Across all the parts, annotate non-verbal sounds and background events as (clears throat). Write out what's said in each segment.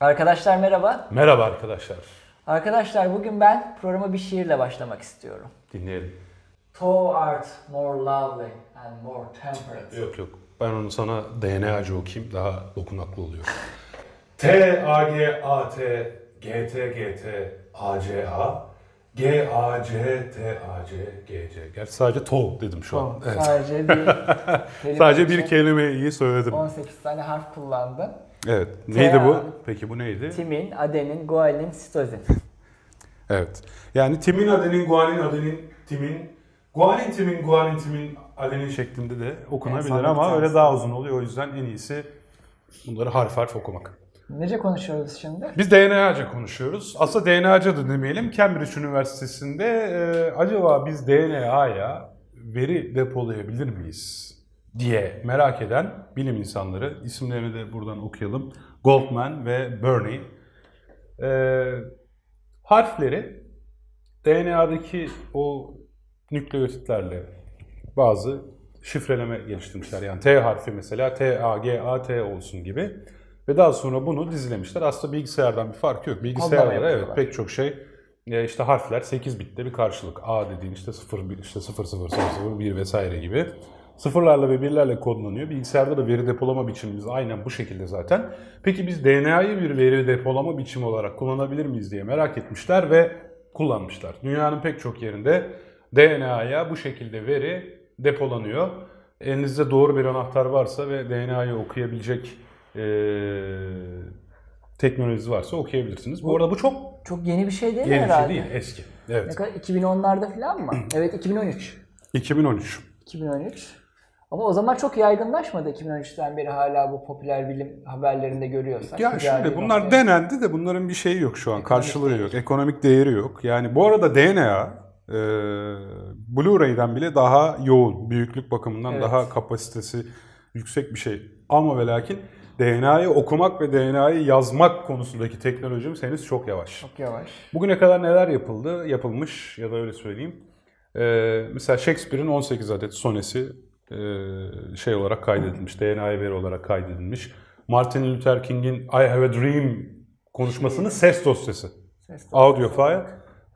Arkadaşlar merhaba. Merhaba arkadaşlar. Arkadaşlar bugün ben programa bir şiirle başlamak istiyorum. Dinleyelim. To art more lovely and more temperate. Yok yok. Ben onu sana DNA'cı okuyayım. Daha dokunaklı oluyor. T, A, G, A, T, G, T, G, T, A, C, A, G, A, C, T, A, C, G, C. Gerçi sadece to dedim şu an. Evet. Sadece (laughs) bir kelime Sadece için bir kelimeyi söyledim. 18 tane harf kullandın. Evet. Neydi bu? A. Peki bu neydi? Timin, adenin, guanin, sitozin. Evet. Yani timin adenin, guanin adenin, timin, guanin timin, guanin timin adenin şeklinde de okunabilir Evet, ama sanırım. öyle daha uzun oluyor. O yüzden en iyisi bunları harf harf okumak. Nece konuşuyoruz şimdi? Biz DNA'ca konuşuyoruz. Aslında DNA'ca da demeyelim. Cambridge Üniversitesi'nde e, acaba biz DNA'ya veri depolayabilir miyiz diye merak eden bilim insanları, isimlerini de buradan okuyalım. Goldman ve Burney. E, harfleri DNA'daki o nükleotitlerle bazı şifreleme geliştirmişler. Yani T harfi mesela T, A, G, A, T olsun gibi. Ve daha sonra bunu dizilemişler. Aslında bilgisayardan bir farkı yok. Bilgisayarlara evet yapıyorlar. pek çok şey e, işte harfler 8 bitte bir karşılık. A dediğin işte 0, 1, işte 0, 0, 0, 0, 1 vesaire gibi. Sıfırlarla ve birlerle kodlanıyor. Bilgisayarda da veri depolama biçimimiz aynen bu şekilde zaten. Peki biz DNA'yı bir veri depolama biçimi olarak kullanabilir miyiz diye merak etmişler ve kullanmışlar. Dünyanın pek çok yerinde DNA'ya bu şekilde veri depolanıyor. Elinizde doğru bir anahtar varsa ve DNA'yı okuyabilecek eee teknolojisi varsa okuyabilirsiniz. Bu arada bu çok Çok yeni bir şey değil mi yeni bir şey herhalde? değil, eski. Ne Evet. kadar 2010'larda falan (clears throat) mı? evet 2013. 2013. 2013. Ama o zaman çok yaygınlaşmadı 2013'ten beri hala bu popüler bilim haberlerinde görüyorsak. Ya Ticari şimdi bunlar noktaya. denendi de bunların bir şeyi yok şu an. Karşılığı yok. Ekonomik değeri yok. Yani bu arada DNA e, Blu-ray'den bile daha yoğun. Büyüklük bakımından Evet. daha kapasitesi yüksek bir şey. Ama ve lakin DNA'yı okumak ve DNA'yı yazmak konusundaki teknolojimiz henüz çok yavaş. Çok yavaş. Bugüne kadar neler yapıldı, yapılmış ya da öyle söyleyeyim. Ee, mesela Shakespeare'in 18 adet sonesi e, şey olarak kaydedilmiş, DNA veri olarak kaydedilmiş. Martin Luther King'in I Have a Dream konuşmasının Şey. ses dosyası, Ses de- audio file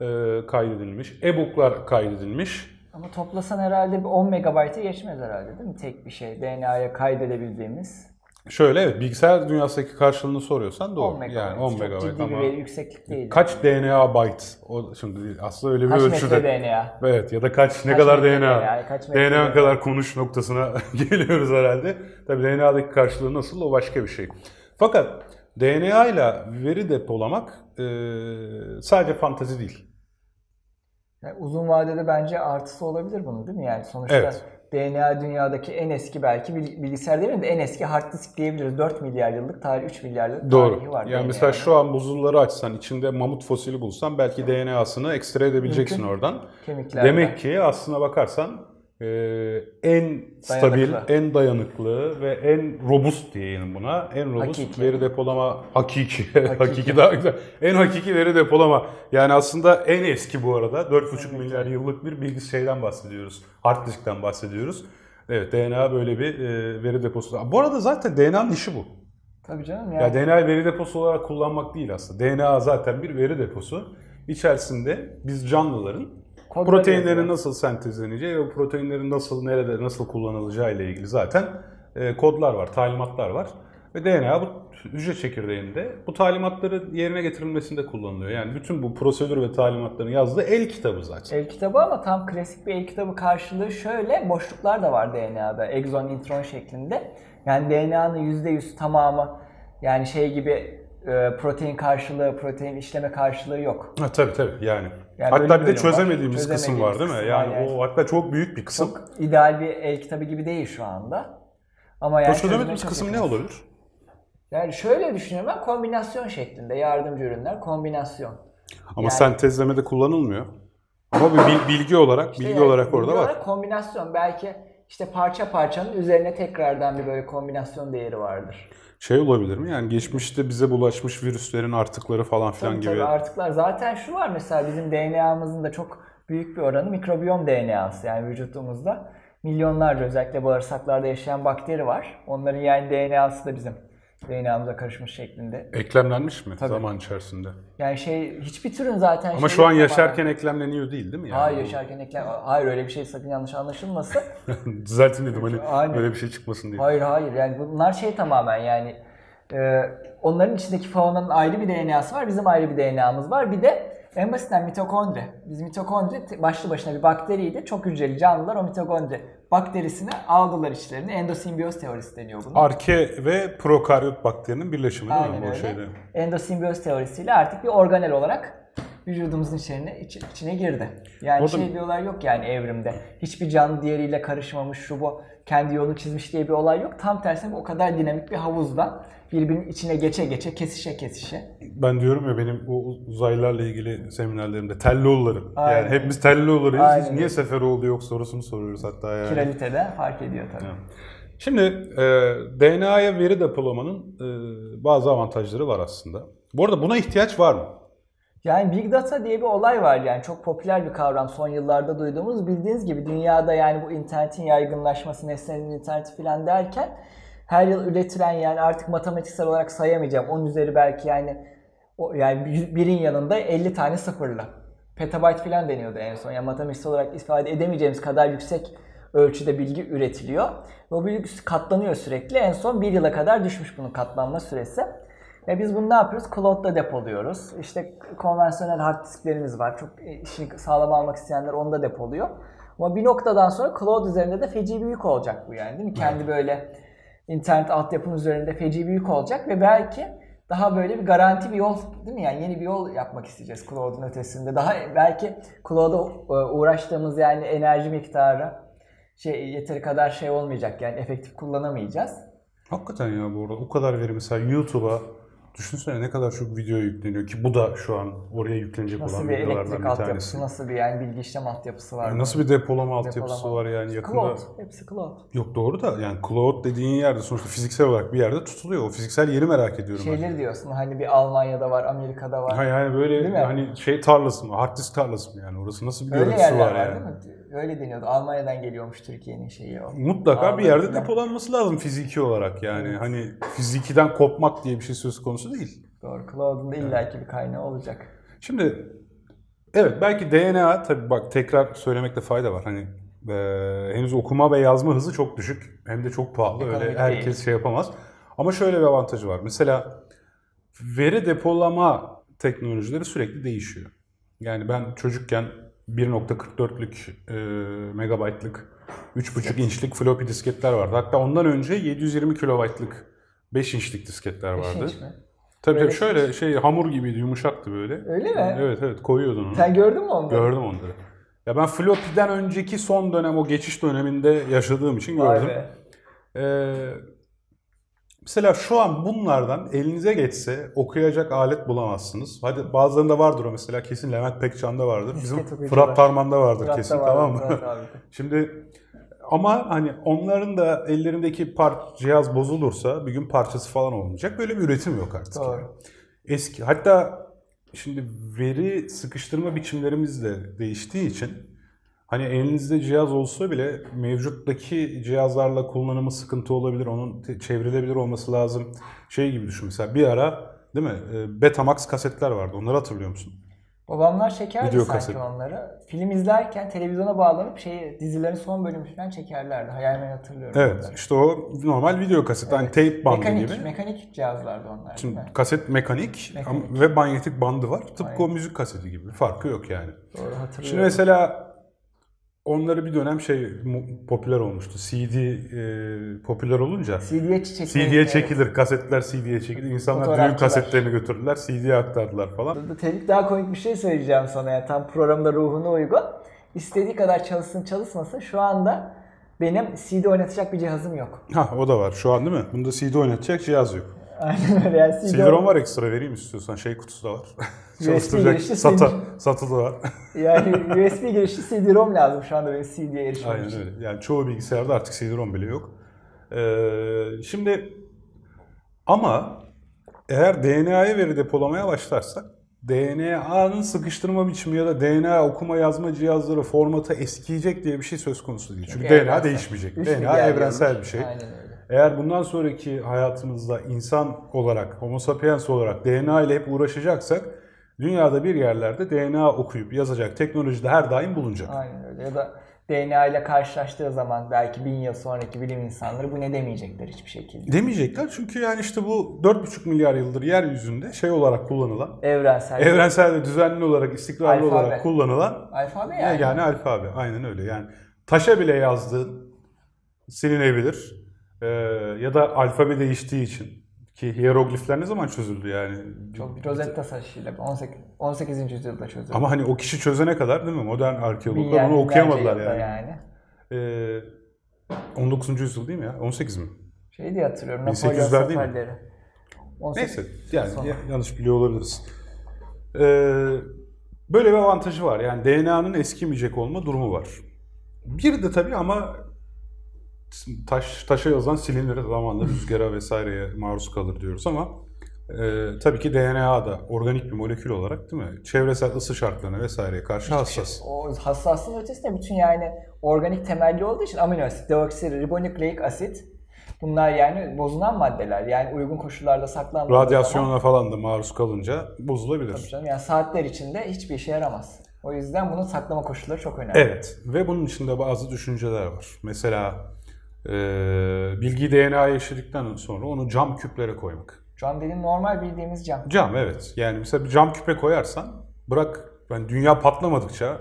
e, kaydedilmiş. E-book'lar kaydedilmiş. Ama toplasan herhalde bir 10 megabaytı geçmez herhalde değil mi? Tek bir şey DNA'ya kaydedebildiğimiz. Şöyle evet, bilgisayar dünyasındaki karşılığını soruyorsan doğru. 10 megabayt. Yani 10 Çok megabayt ciddi ama bir veri yükseklik değil. kaç DNA byte? O şimdi değil. Aslında öyle bir Kaç ölçüde. metre DNA? Evet ya da kaç ne kadar metre DNA? yani, kaç metre DNA kadar konuş noktasına (laughs) geliyoruz herhalde. Tabii DNA'daki karşılığı nasıl o başka bir şey. Fakat DNA ile veri depolamak e, sadece fantezi değil. Yani uzun vadede bence artısı olabilir bunun değil mi? Yani sonuçta Evet. DNA dünyadaki en eski belki bil- bilgisayar değil mi de en eski hard disk diyebiliriz. 4 milyar yıllık tarih, 3 milyar yıllık tarihi Doğru. var. Yani DNA'nın. mesela şu an buzulları açsan içinde mamut fosili bulsan belki DNA'sını ekstra edebileceksin oradan. kemiklerden. Demek ki aslına bakarsan e, en stabil, Dayanıklı. en dayanıklı ve en robust diyelim buna. En robust Hakiki. veri depolama hakiki. (laughs) hakiki. daha güzel. En hakiki veri depolama. Yani aslında en eski bu arada 4,5 milyar yıllık bir bilgi şeyden bahsediyoruz. Hard diskten bahsediyoruz. Evet DNA böyle bir e, veri deposu. Bu arada zaten DNA'nın işi bu. Tabii canım Ya DNA veri deposu olarak kullanmak değil aslında. DNA zaten bir veri deposu. İçerisinde biz canlıların Kodlar proteinlerin yazıyor. nasıl sentezleneceği ve proteinlerin nasıl nerede nasıl kullanılacağı ile ilgili zaten e, kodlar var, talimatlar var. Ve DNA bu hücre çekirdeğinde bu talimatları yerine getirilmesinde kullanılıyor. Yani bütün bu prosedür ve talimatların yazdığı el kitabı zaten. El kitabı ama tam klasik bir el kitabı karşılığı şöyle boşluklar da var DNA'da. Egzon, intron şeklinde. Yani DNA'nın %100 tamamı yani şey gibi e, protein karşılığı, protein işleme karşılığı yok. Ha, tabii tabii yani. Yani bölüm hatta bir de bölüm var. çözemediğimiz kısım var değil mi? Çözemediğimiz Yani, kısım var yani. o hatta çok büyük bir kısım. Çok ideal bir el kitabı gibi değil şu anda. Ama o yani çözüme çözemediğimiz çok kısım yakın. ne olabilir? Yani şöyle düşünüyorum ben kombinasyon şeklinde yardımcı ürünler kombinasyon. Ama Yani- sentezlemede kullanılmıyor. Ama bir bil- bilgi olarak, bilgi Yani olarak orada bilgi var. olarak Kombinasyon belki işte parça parçanın üzerine tekrardan bir böyle kombinasyon değeri vardır. Şey olabilir mi? Yani geçmişte bize bulaşmış virüslerin artıkları falan filan Tabii gibi. tabii artıklar. Zaten şu var mesela bizim DNA'mızın da çok büyük bir oranı mikrobiyom DNA'sı yani vücudumuzda. Milyonlarca özellikle bağırsaklarda yaşayan bakteri var. Onların yani DNA'sı da bizim DNA'mıza karışmış şeklinde. Eklemlenmiş mi zaman içerisinde? Yani şey hiçbir türün zaten Ama şeyi şu an yok yaşarken eklemleniyor değil değil mi? Şey Yani? Hayır (laughs) yaşarken eklem. Hayır öyle bir şey sakın yanlış anlaşılmasın. Düzelteyim dedim hani Aynen. böyle bir şey çıkmasın diye. Hayır hayır yani bunlar şey tamamen yani e, onların içindeki faunanın ayrı bir DNA'sı var, bizim ayrı bir DNA'mız var. Bir de en basitinden mitokondri. Biz mitokondri t- başlı başına bir bakteriydi. Çok hücreli canlılar o mitokondri bakterisini aldılar içlerine. Endosimbiyoz teorisi deniyor buna. Arke ve prokaryot bakterinin birleşimi değil mi Aynen bu öyle. şeyde? Endosimbiyoz teorisiyle artık bir organel olarak vücudumuzun içine, iç- içine girdi. Yani Orada- şey diyorlar yok yani evrimde. Hiçbir canlı diğeriyle karışmamış, şu bu kendi yolunu çizmiş diye bir olay yok. Tam tersine o kadar dinamik bir havuzdan birbirinin içine geçe geçe, kesişe kesişe. Ben diyorum ya benim bu uzaylılarla ilgili seminerlerimde Telloğulları. Yani Aynen. hepimiz Telloğullarıyız. Biz Aynen. niye Seferoğlu yok sorusunu soruyoruz hatta yani. Kiralitede fark ediyor tabii. Şimdi e, DNA'ya veri depolamanın e, bazı avantajları var aslında. Bu arada buna ihtiyaç var mı? Yani Big Data diye bir olay var yani çok popüler bir kavram son yıllarda duyduğumuz bildiğiniz gibi dünyada yani bu internetin yaygınlaşması, nesnelerin interneti filan derken her yıl üretilen yani artık matematiksel olarak sayamayacağım. Onun üzeri belki yani o yani bir- birin yanında 50 tane sıfırla. Petabyte filan deniyordu en son. Yani matematiksel olarak ifade edemeyeceğimiz kadar yüksek ölçüde bilgi üretiliyor. Ve o bilgi katlanıyor sürekli. En son bir yıla kadar düşmüş bunun katlanma süresi. E biz bunu ne yapıyoruz? Cloud'da depoluyoruz. İşte konvansiyonel hard disklerimiz var. Çok e, işini sağlam almak isteyenler onu da depoluyor. Ama bir noktadan sonra cloud üzerinde de feci bir yük olacak bu yani değil mi? Kendi böyle internet altyapının üzerinde feci bir yük olacak ve belki daha böyle bir garanti bir yol değil mi? Yani yeni bir yol yapmak isteyeceğiz cloud'un ötesinde. Daha belki cloud'a e, uğraştığımız yani enerji miktarı şey yeteri kadar şey olmayacak yani efektif kullanamayacağız. Hakikaten ya bu arada o kadar veri mesela YouTube'a düşünsene ne kadar çok video yükleniyor ki bu da şu an oraya yüklenecek Nasıl olan bir videolardan elektrik bir altyapısı, tanesi. nasıl bir yani bilgi işlem altyapısı var? Yani nasıl bir depolama altyapısı Depolama. var yani yakında. Cloud. Hepsi cloud. Yok doğru da yani cloud dediğin yerde sonuçta fiziksel olarak bir yerde tutuluyor. O fiziksel yeri merak ediyorum ben. Şeyleri diyorsun hani bir Almanya'da var, Amerika'da var. Hayır yani böyle Değil mi? hani şey tarlası mı? Hard disk tarlası mı yani? Orası nasıl bir Öyle görüntüsü yerler var var, yani? değil mi? Öyle deniyordu. Almanya'dan geliyormuş Türkiye'nin şeyi o. Mutlaka bir Almanya yerde falan. depolanması lazım fiziki olarak yani. Hani fizikiden kopmak diye bir şey söz konusu değil. Doğru. Cloud'un da illaki bir kaynağı olacak. Şimdi evet belki DNA tabii bak tekrar söylemekte fayda var. Hani e, henüz okuma ve yazma hızı çok düşük. Hem de çok pahalı. Ekonomik Öyle değil. herkes şey yapamaz. Ama şöyle bir avantajı var. Mesela veri depolama teknolojileri sürekli değişiyor. Yani ben çocukken 1.44'lük e, megabaytlık 3.5 inçlik floppy disketler vardı. Hatta ondan önce 720 kilobaytlık 5 inçlik disketler vardı. Vardı. mi? Tabii tabii Böyle şöyle şey hamur gibiydi, yumuşaktı böyle. Öyle mi? Evet evet koyuyordun onu. Sen gördün mü onu? Gördüm onları. Ya ben floppy'den önceki son dönem o geçiş döneminde yaşadığım için Vay gördüm. be. Ee, mesela şu an bunlardan elinize geçse okuyacak alet bulamazsınız. Hadi bazılarında vardır o mesela kesin Levent Pekcan'da vardır. Bizim okuyucular. Fırat Tarman'da vardır Fırat'ta kesin var, tamam mı? Fırat abi. Şimdi ama hani onların da ellerindeki par cihaz bozulursa bir gün parçası falan olmayacak. Böyle bir üretim yok artık. Doğru. yani. Eski hatta şimdi veri sıkıştırma biçimlerimiz de değiştiği için hani elinizde cihaz olsa bile mevcuttaki cihazlarla kullanımı sıkıntı olabilir. Onun te- çevrilebilir olması lazım. Şey gibi düşün mesela bir ara değil mi? e, Betamax kasetler vardı. Onları hatırlıyor musun? Babamlar çekerdi Video sanki kaset. onları. Film izlerken televizyona bağlanıp şeyi dizilerin son bölümü falan çekerlerdi. Hayal meyal hatırlıyorum. Evet, işte o normal video kaset. Hani tape bandı mekanik, gibi. mekanik cihazlardı onlar. Şimdi değil mi? kaset mekanik, Mekanik. ama- ve manyetik bandı var. Tıpkı Aynen. o müzik kaseti gibi. Bir farkı yok yani. Doğru hatırlıyorum. Şimdi mesela onları bir dönem şey mu- popüler olmuştu. CD e, popüler olunca CD'ye çiçek. CD'ye çekilir, kasetler CD'ye çekilir. İnsanlar düğün Fotoğrafçılar. kasetlerini götürdüler, CD'ye aktardılar falan. Tevfik daha komik bir şey söyleyeceğim sana ya. Tam programda ruhuna uygun. İstediği kadar çalışsın çalışmasın şu anda benim CD oynatacak bir cihazım yok. (laughs) Ha o da var şu an değil mi? Bunda CD oynatacak cihaz yok. Aynen öyle yani CD, CD-ROM var ekstra vereyim istiyorsan. Şey kutusu da var. Çalıştıracak. girişli Sata, satı da var. (laughs) yani USB girişli CD-ROM lazım şu anda benim CD'ye erişmem Aynen için. öyle. Yani çoğu bilgisayarda artık CD-ROM bile yok. Ee, şimdi ama eğer DNA'ya veri depolamaya başlarsak DNA'nın sıkıştırma biçimi ya da DNA okuma yazma cihazları formatı eskiyecek diye bir şey söz konusu değil. Çünkü Evrensel. DNA değişmeyecek. Üç DNA milyar evrensel yıllık. bir şey. Aynen öyle. Eğer bundan sonraki hayatımızda insan olarak, homo sapiens olarak DNA ile hep uğraşacaksak dünyada bir yerlerde DNA okuyup yazacak teknoloji de her daim bulunacak. Aynen öyle. Ya da DNA ile karşılaştığı zaman belki bin yıl sonraki bilim insanları bu ne demeyecekler hiçbir şekilde. Demeyecekler çünkü yani işte bu 4,5 milyar yıldır yeryüzünde şey olarak kullanılan, Evrensel. evrensel ve düzenli olarak, istikrarlı Alfabe. olarak kullanılan Alfabe yani. Yani. yani alfabe aynen öyle. Yani taşa bile yazdığın silinebilir. Ee, ya da alfabe değiştiği için. Ki hieroglifler ne zaman çözüldü yani? Çok Rosetta taşıyla 18, 18. yüzyılda çözüldü. Ama hani o kişi çözene kadar değil mi? Modern Binler- arkeologlar onu okuyamadılar binlerce yılda yani. Ee, 19. yüzyıl değil mi ya? 18 mi? Şey diye hatırlıyorum. 1800'ler Napolyon değil mi? seferleri. 18 Neyse yani Sonra. ya- yanlış biliyor olabiliriz. Ee, böyle bir avantajı var. Yani DNA'nın eskimeyecek olma durumu var. Bir de tabii ama taş taşa yazan silinir zamanla rüzgara vesaireye maruz kalır diyoruz ama e, tabii ki DNA da organik bir molekül olarak değil mi? Çevresel ısı şartlarına vesaireye karşı hassas. O hassaslığın ötesinde bütün yani organik temelli olduğu için amino asit, deoksiribonükleik asit bunlar yani bozulan maddeler. Yani uygun koşullarda saklanmadığı zaman- Radyasyona falan da maruz kalınca bozulabilir. Tabii canım, yani saatler içinde hiçbir işe yaramaz. O yüzden bunun saklama koşulları çok önemli. Evet ve bunun içinde bazı düşünceler var. Mesela e, bilgi DNA'ya işledikten sonra onu cam küplere koymak. Şu an dediğim normal bildiğimiz cam. Cam evet. Yani mesela bir cam küpe koyarsan bırak yani dünya patlamadıkça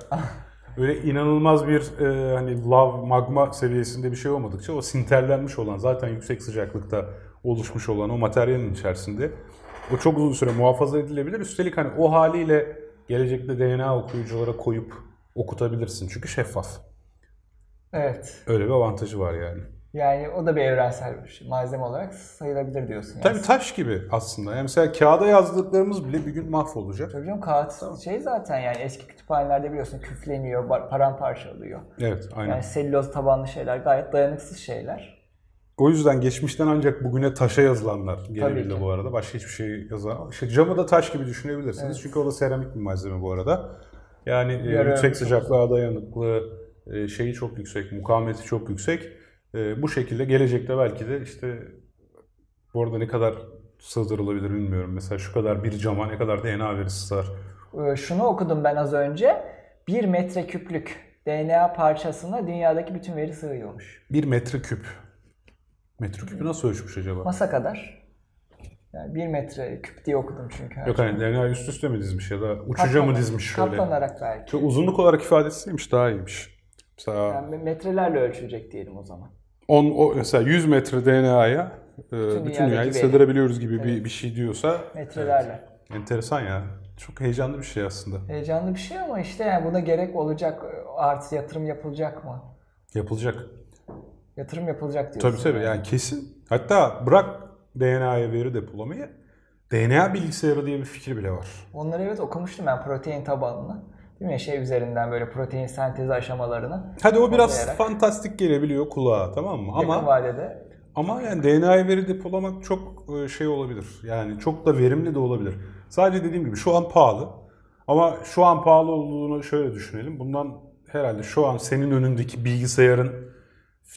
böyle inanılmaz bir e, hani lav magma seviyesinde bir şey olmadıkça o sinterlenmiş olan zaten yüksek sıcaklıkta oluşmuş olan o materyalin içerisinde o çok uzun süre muhafaza edilebilir. Üstelik hani o haliyle gelecekte DNA okuyuculara koyup okutabilirsin çünkü şeffaf. Evet. Öyle bir avantajı var yani. Yani o da bir evrensel bir şey, malzeme olarak sayılabilir diyorsun. Yani. Tabii taş gibi aslında. Yani mesela kağıda yazdıklarımız bile bir gün mahvolacak. Tabii canım kağıt şey zaten yani eski kütüphanelerde biliyorsun küfleniyor, bar- paramparça oluyor. Evet, aynen. Yani selüloz tabanlı şeyler gayet dayanıksız şeyler. O yüzden geçmişten ancak bugüne taşa yazılanlar ki. gelebildi bu arada. Başka hiçbir şey yazan. İşte camı da taş gibi düşünebilirsiniz. Çünkü o da seramik bir malzeme bu arada. Yani e, Yarı yüksek ömür. sıcaklığa dayanıklı, e, şeyi çok yüksek, mukavemeti çok yüksek. E, bu şekilde gelecekte belki de işte bu arada ne kadar sığdırılabilir bilmiyorum. Mesela şu kadar bir cama ne kadar DNA verisi sığar. Ee, Şunu okudum ben az önce. 1 metreküplük DNA parçasına dünyadaki bütün veri sığıyormuş. Bir metreküp. Metreküpü Hmm. nasıl ölçmüş acaba? Masa kadar. Yani 1 metreküp diye okudum çünkü. Yok hani DNA üst üste mi dizmiş ya da uçuca mı Katlanarak- dizmiş şöyle? Katlanarak belki. Şu uzunluk olarak ifadesiymiş daha iyiymiş. Mesela Yani metrelerle ölçülecek diyelim o zaman. 10 o mesela 100 metre DNA'ya e, bütün, bütün dünyadaki dünyayı veri. sığdırabiliyoruz gibi bir, bir şey diyorsa Metrelerle. enteresan ya. Çok heyecanlı bir şey aslında. Heyecanlı bir şey ama işte yani buna gerek olacak e, artı yatırım yapılacak mı? Yapılacak. Yatırım yapılacak diyorsun. Tabii tabii yani kesin. Hatta bırak DNA'ya veri depolamayı. DNA bilgisayarı diye bir fikir bile var. Onları evet okumuştum ben protein tabanını. Değil mi? Şey üzerinden böyle protein sentezi aşamalarını. Hadi o biraz Toplayarak. fantastik gelebiliyor kulağa tamam mı? Yakın Ama vadede ama yani DNA'yı veri depolamak çok e, şey olabilir. Yani çok da verimli de olabilir. Sadece dediğim gibi şu an pahalı. Ama şu an pahalı olduğunu şöyle düşünelim. Bundan herhalde şu an senin önündeki bilgisayarın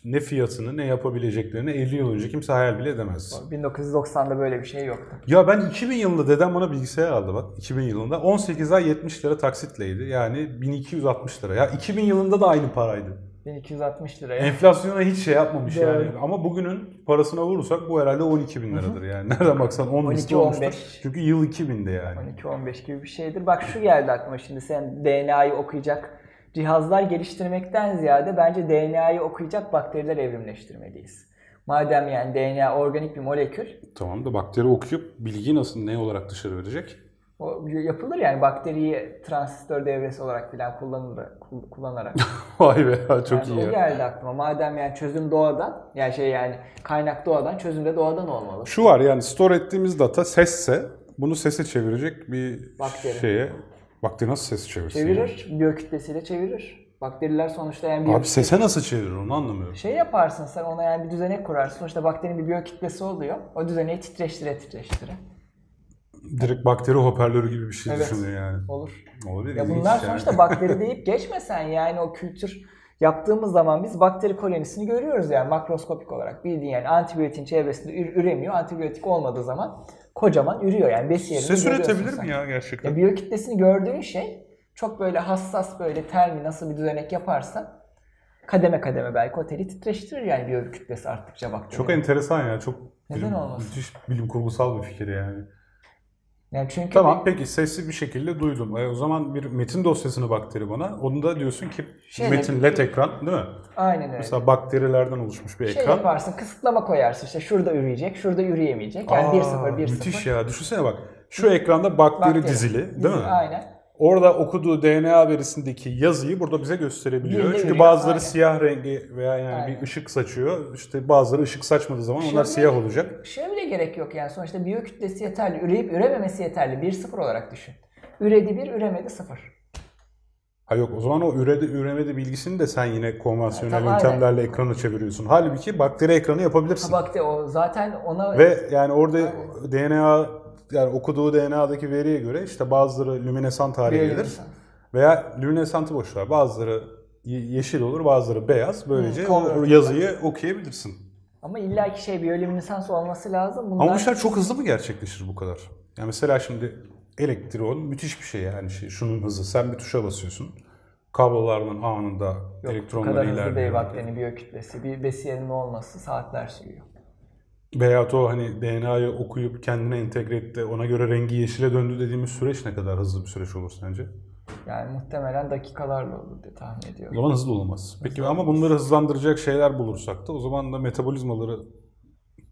ne fiyatını ne yapabileceklerini 50 yıl önce kimse hayal bile edemez. 1990'da böyle bir şey yoktu. Ya ben 2000 yılında dedem bana bilgisayar aldı bak 2000 yılında 18 ay 70 lira taksitleydi. Yani 1260 lira. Ya 2000 yılında da aynı paraydı. 1260 liraya. Enflasyona hiç şey yapmamış Doğru. yani. Ama bugünün parasına vurursak bu herhalde 12 bin liradır yani. (laughs) Nereden baksan 10 misli olmuştur. 12-15. Çünkü yıl 2000'di yani. 12-15 gibi bir şeydir. Bak şu geldi aklıma şimdi sen DNA'yı okuyacak cihazlar geliştirmekten ziyade bence DNA'yı okuyacak bakteriler evrimleştirmeliyiz. Madem yani DNA organik bir molekül, Tamam da bakteri okuyup bilgi nasıl ne olarak dışarı verecek? (laughs) O yapılır yani bakteriyi transistör devresi olarak filan kullanılır, kul- kullanarak. Vay be ha, çok Yani iyi o ya. geldi aklıma. Madem yani çözüm doğadan, yani şey yani kaynak doğadan, çözüm de doğadan olmalı. Şu var yani store ettiğimiz data sesse bunu sese çevirecek bir Bakteri. şeye. Bakteri nasıl ses çevirsin? ya? Çevirir, biyokütlesiyle çevirir. Bakteriler sonuçta yani bir Abi sese nasıl çevirir onu anlamıyorum. şey yaparsın sen ona yani bir düzenek kurarsın. Sonuçta bakterinin bir biyokütlesi oluyor. O düzeneği titreştire titreştire. Direkt bakteri hoparlörü gibi bir şey Evet. düşünüyor yani. Olur. Olabilir. Ya ilginç bunlar yani. sonuçta bakteri deyip geçmesen yani o kültür yaptığımız zaman biz bakteri kolonisini görüyoruz yani makroskopik olarak. Bildiğin yani antibiyotin çevresinde ür- üremiyor. Antibiyotik olmadığı zaman kocaman ürüyor yani besi yerini Ses görüyorsun üretebilir sen. mi ya Ya gerçekten? E, biyokütlesini gördüğün şey çok böyle hassas böyle termi nasıl bir düzenek yaparsa kademe kademe belki o teli titreştirir yani biyokütlesi arttıkça bakteri. Çok enteresan ya. Çok Neden bilim, olmasın? müthiş bilim kurgusal bir fikir yani. yani çünkü Tamam peki sessiz bir şekilde duydum. E, o zaman bir metin dosyasını bakteri bana. Onu da diyorsun ki Şey- metin led ekran değil mi? aynen öyle. Mesela bakterilerden oluşmuş bir şey ekran. yaparsın kısıtlama koyarsın işte şurada üreyecek şurada üreyemeyecek yani Aa, 1-0 1-0. Müthiş ya. Düşünsene bak. Şu ekranda bakteri, Bakteri. dizili değil Dizi- mi? Aynen. Orada okuduğu DNA verisindeki yazıyı burada bize gösterebiliyor. Bildiğin Çünkü ürün, bazıları aynen. siyah rengi veya yani Aynen. bir ışık saçıyor. İşte bazıları ışık saçmadığı zaman onlar Şöyle- siyah olacak. Şöyle bile gerek yok yani sonuçta biyokütlesi yeterli. Üreyip ürememesi yeterli. 1-0 olarak düşün. Üredi 1, üremedi 0. Ha yok o zaman o üredi üremedi bilgisini de sen yine konvansiyonel Ha, tamam, yöntemlerle ekrana çeviriyorsun. Halbuki bakteri ekranı yapabilirsin. Ha bak de o zaten ona Ve yani orada DNA yani okuduğu DNA'daki veriye göre işte bazıları lüminesant hale Böyle gelir. insan. Veya lüminesantı boş ver. Bazıları ye- yeşil olur, bazıları beyaz. Böylece Hı, o convert. yazıyı okuyabilirsin. Ama illa ki şey biyolimisans olması lazım. Bunlar... Ama bu işler çok hızlı mı gerçekleşir bu kadar? Yani mesela şimdi elektron müthiş bir şey yani şey şunun hızı. Sen bir tuşa basıyorsun. Kablolardan anında Bu elektronlar kadar hızlı değil ilerliyor. bakterinin biyokütlesi. Bir besiyenin olması saatler sürüyor. Veyahut o hani DNA'yı okuyup kendine entegre etti, ona göre rengi yeşile döndü dediğimiz süreç ne kadar hızlı bir süreç olur sence? Yani muhtemelen dakikalarla olur diye tahmin O ediyorum. zaman hızlı olamaz. Peki ama bunları hızlandıracak şeyler bulursak da o zaman da metabolizmaları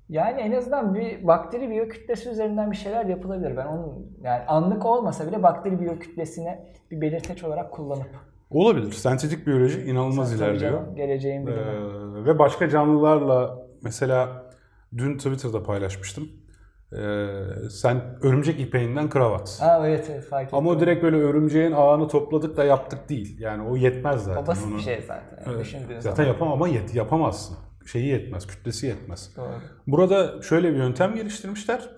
Yani en azından bir bakteri biyokütlesi üzerinden bir şeyler yapılabilir. Ben onun yani anlık olmasa bile bakteri biyokütlesine bir belirteç olarak kullanıp olabilir. Sentetik biyoloji inanılmaz Tabii ilerliyor. canım, geleceğin Ee, bilimi. ve başka canlılarla mesela dün Twitter'da paylaşmıştım. Ee, sen örümcek ipeğinden kravat. Aa evet evet fark ettim. Ama o direkt böyle örümceğin ağını topladık da yaptık değil. Yani o yetmez zaten. O basit Onu- bir şey zaten. Evet. Düşündüğün Zaten zaman. yapamam ama yet, yapamazsın. Şeyi yetmez, kütlesi yetmez. Doğru. Burada şöyle bir yöntem geliştirmişler.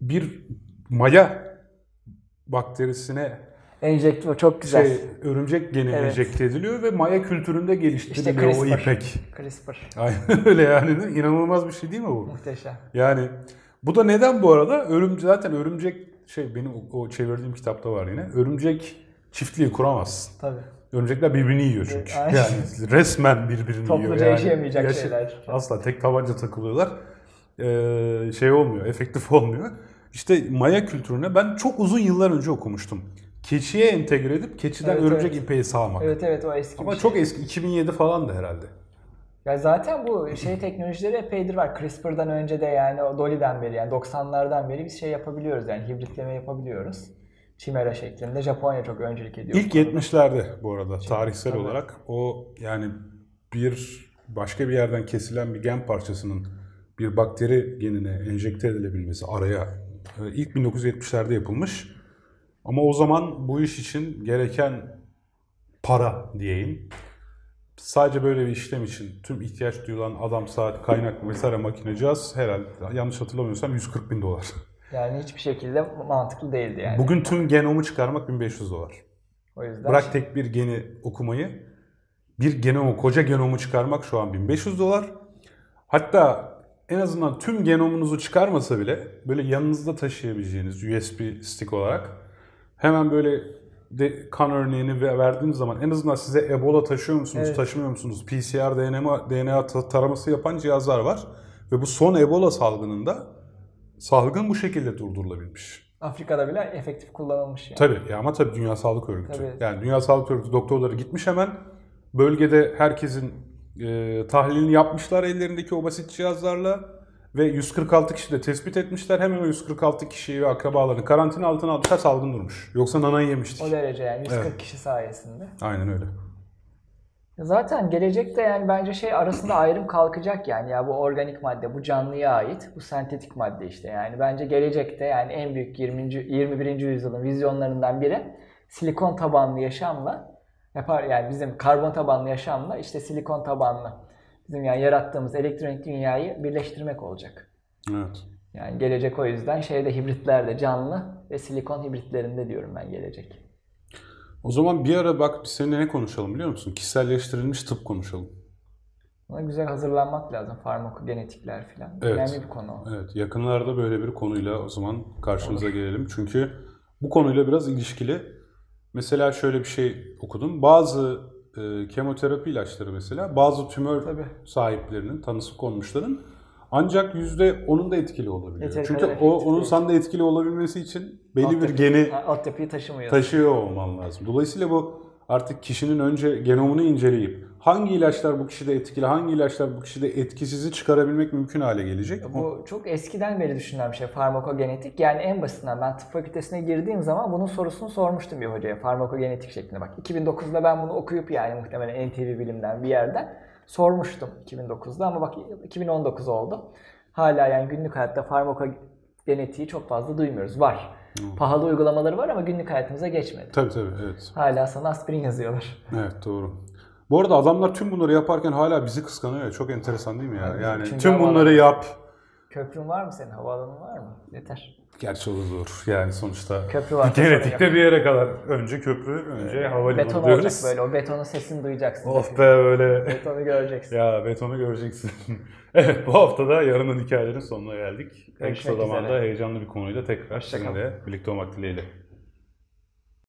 Bir maya bakterisine Enjektör çok güzel. şey, örümcek geni Evet. enjekte ediliyor ve maya kültüründe geliştiriliyor o CRISPR. ipek. (laughs) CRISPR. Aynen öyle yani. değil mi? İnanılmaz bir şey değil mi bu? Muhteşem. Yani bu da neden bu arada? Örümcek zaten örümcek şey benim o- o çevirdiğim kitapta var yine. Örümcek çiftliği kuramazsın. Tabii. Örümcekler birbirini yiyor çünkü. Evet, aynen. Yani resmen birbirini yiyor. Topluca yani. yaşayamayacak Yaşa- şeyler. Asla tek tabanca takılıyorlar. Ee, şey olmuyor, efektif (laughs) olmuyor. İşte Maya kültürüne ben çok uzun yıllar önce okumuştum. Keçiye entegre edip keçiden Evet, örümcek evet. ipeği sağmak. Evet evet o eski Ama bir şey. çok eski 2007 falan da herhalde. Ya zaten bu şey teknolojileri epeydir var. CRISPR'dan önce de yani o Dolly'den beri yani 90'lardan beri biz şey yapabiliyoruz yani hibritleme yapabiliyoruz. Çimera şeklinde Japonya çok öncülük ediyor. İlk 70'lerde bu arada tarihsel Şey, tabii. olarak o yani bir başka bir yerden kesilen bir gen parçasının bir bakteri genine enjekte edilebilmesi araya e, ilk 1970'lerde yapılmış. Ama o zaman bu iş için gereken para diyeyim. Sadece böyle bir işlem için tüm ihtiyaç duyulan adam, saat, kaynak vesaire makine cihaz herhalde yanlış hatırlamıyorsam 140 bin dolar. Yani hiçbir şekilde mantıklı değildi yani. Bugün tüm genomu çıkarmak 1500 dolar. o yüzden Bırak tek bir geni okumayı. Bir genomu, koca genomu çıkarmak şu an 1500 dolar. Hatta en azından tüm genomunuzu çıkarmasa bile böyle yanınızda taşıyabileceğiniz USB stick olarak hemen böyle de kan örneğini ve- verdiğiniz zaman en azından size Ebola taşıyor musunuz, Evet. taşımıyor musunuz? PCR, DNA, DNA ta- taraması yapan cihazlar var. Ve bu son Ebola salgınında salgın bu şekilde durdurulabilmiş. Afrika'da bile efektif kullanılmış yani. Tabii ya ama tabii Dünya Sağlık Örgütü. Tabii. Yani Dünya Sağlık Örgütü doktorları gitmiş hemen. Bölgede herkesin e, tahlilini yapmışlar ellerindeki o basit cihazlarla. Ve 146 kişi de tespit etmişler. Hemen o 146 kişiyi ve akrabalarını karantina altına almışlar salgın durmuş. Yoksa nanayı yemiştik. O derece yani 140 Evet. kişi sayesinde. Aynen öyle. Zaten gelecekte yani bence şey arasında ayrım kalkacak yani ya bu organik madde bu canlıya ait bu sentetik madde işte yani bence gelecekte yani en büyük 20. 21. yüzyılın vizyonlarından biri silikon tabanlı yaşamla yapar yani bizim karbon tabanlı yaşamla işte silikon tabanlı bizim yani yarattığımız elektronik dünyayı birleştirmek olacak. Evet. Yani gelecek o yüzden şeyde hibritlerde canlı ve silikon hibritlerinde diyorum ben gelecek. O zaman bir ara bak biz seninle ne konuşalım biliyor musun? Kişiselleştirilmiş tıp konuşalım. Buna güzel hazırlanmak lazım. Farmakogenetikler falan. Evet. Önemli bir konu. o. Evet, yakınlarda böyle bir konuyla o zaman karşınıza gelelim. Çünkü bu konuyla biraz ilişkili. Mesela şöyle bir şey okudum. Bazı e, kemoterapi ilaçları mesela bazı tümör Tabii. sahiplerinin, tanısı konmuşların ancak %10'un da etkili olabiliyor. Yeteri Çünkü kadar o efektif onun değil. sende etkili olabilmesi için belli bir Altyapı- geni Ha, Altyapıyı taşımıyor. taşıyor olman lazım. Dolayısıyla bu artık kişinin önce genomunu inceleyip hangi ilaçlar bu kişide etkili, hangi ilaçlar bu kişide etkisizi çıkarabilmek mümkün hale gelecek. Bu çok eskiden beri düşünülen bir şey farmakogenetik. Yani en basitinden ben tıp fakültesine girdiğim zaman bunun sorusunu sormuştum bir hocaya farmakogenetik şeklinde. Bak 2009'da ben bunu okuyup yani muhtemelen NTV Bilim'den bir yerden sormuştum 2009'da ama bak 2019 oldu. Hala yani günlük hayatta farmakogenetiği çok fazla duymuyoruz. Var. Pahalı uygulamaları var ama günlük hayatımıza geçmedi. Tabii tabii evet. Hala sana aspirin yazıyorlar. Evet doğru. Bu arada adamlar tüm bunları yaparken hala bizi kıskanıyor ya. Çok enteresan değil mi ya? Abi, Yani çünkü tüm havalar- bunları yap. Köprün var mı senin? Havaalanın var mı? Yeter. Gerçi o da doğru. Yani sonuçta Köprü (laughs) var. genetikte bir yere kadar. Önce köprü, önce havalimanı Beton olacak diyoruz. böyle. O betonun sesini duyacaksın. Of be böyle. Betonu göreceksin. ya betonu göreceksin. (laughs) evet bu hafta da yarının hikayelerin sonuna geldik. En kısa Görüşmek zamanda üzere. heyecanlı bir konuyla tekrar Hoşça kal. sizinle birlikte olmak dileğiyle.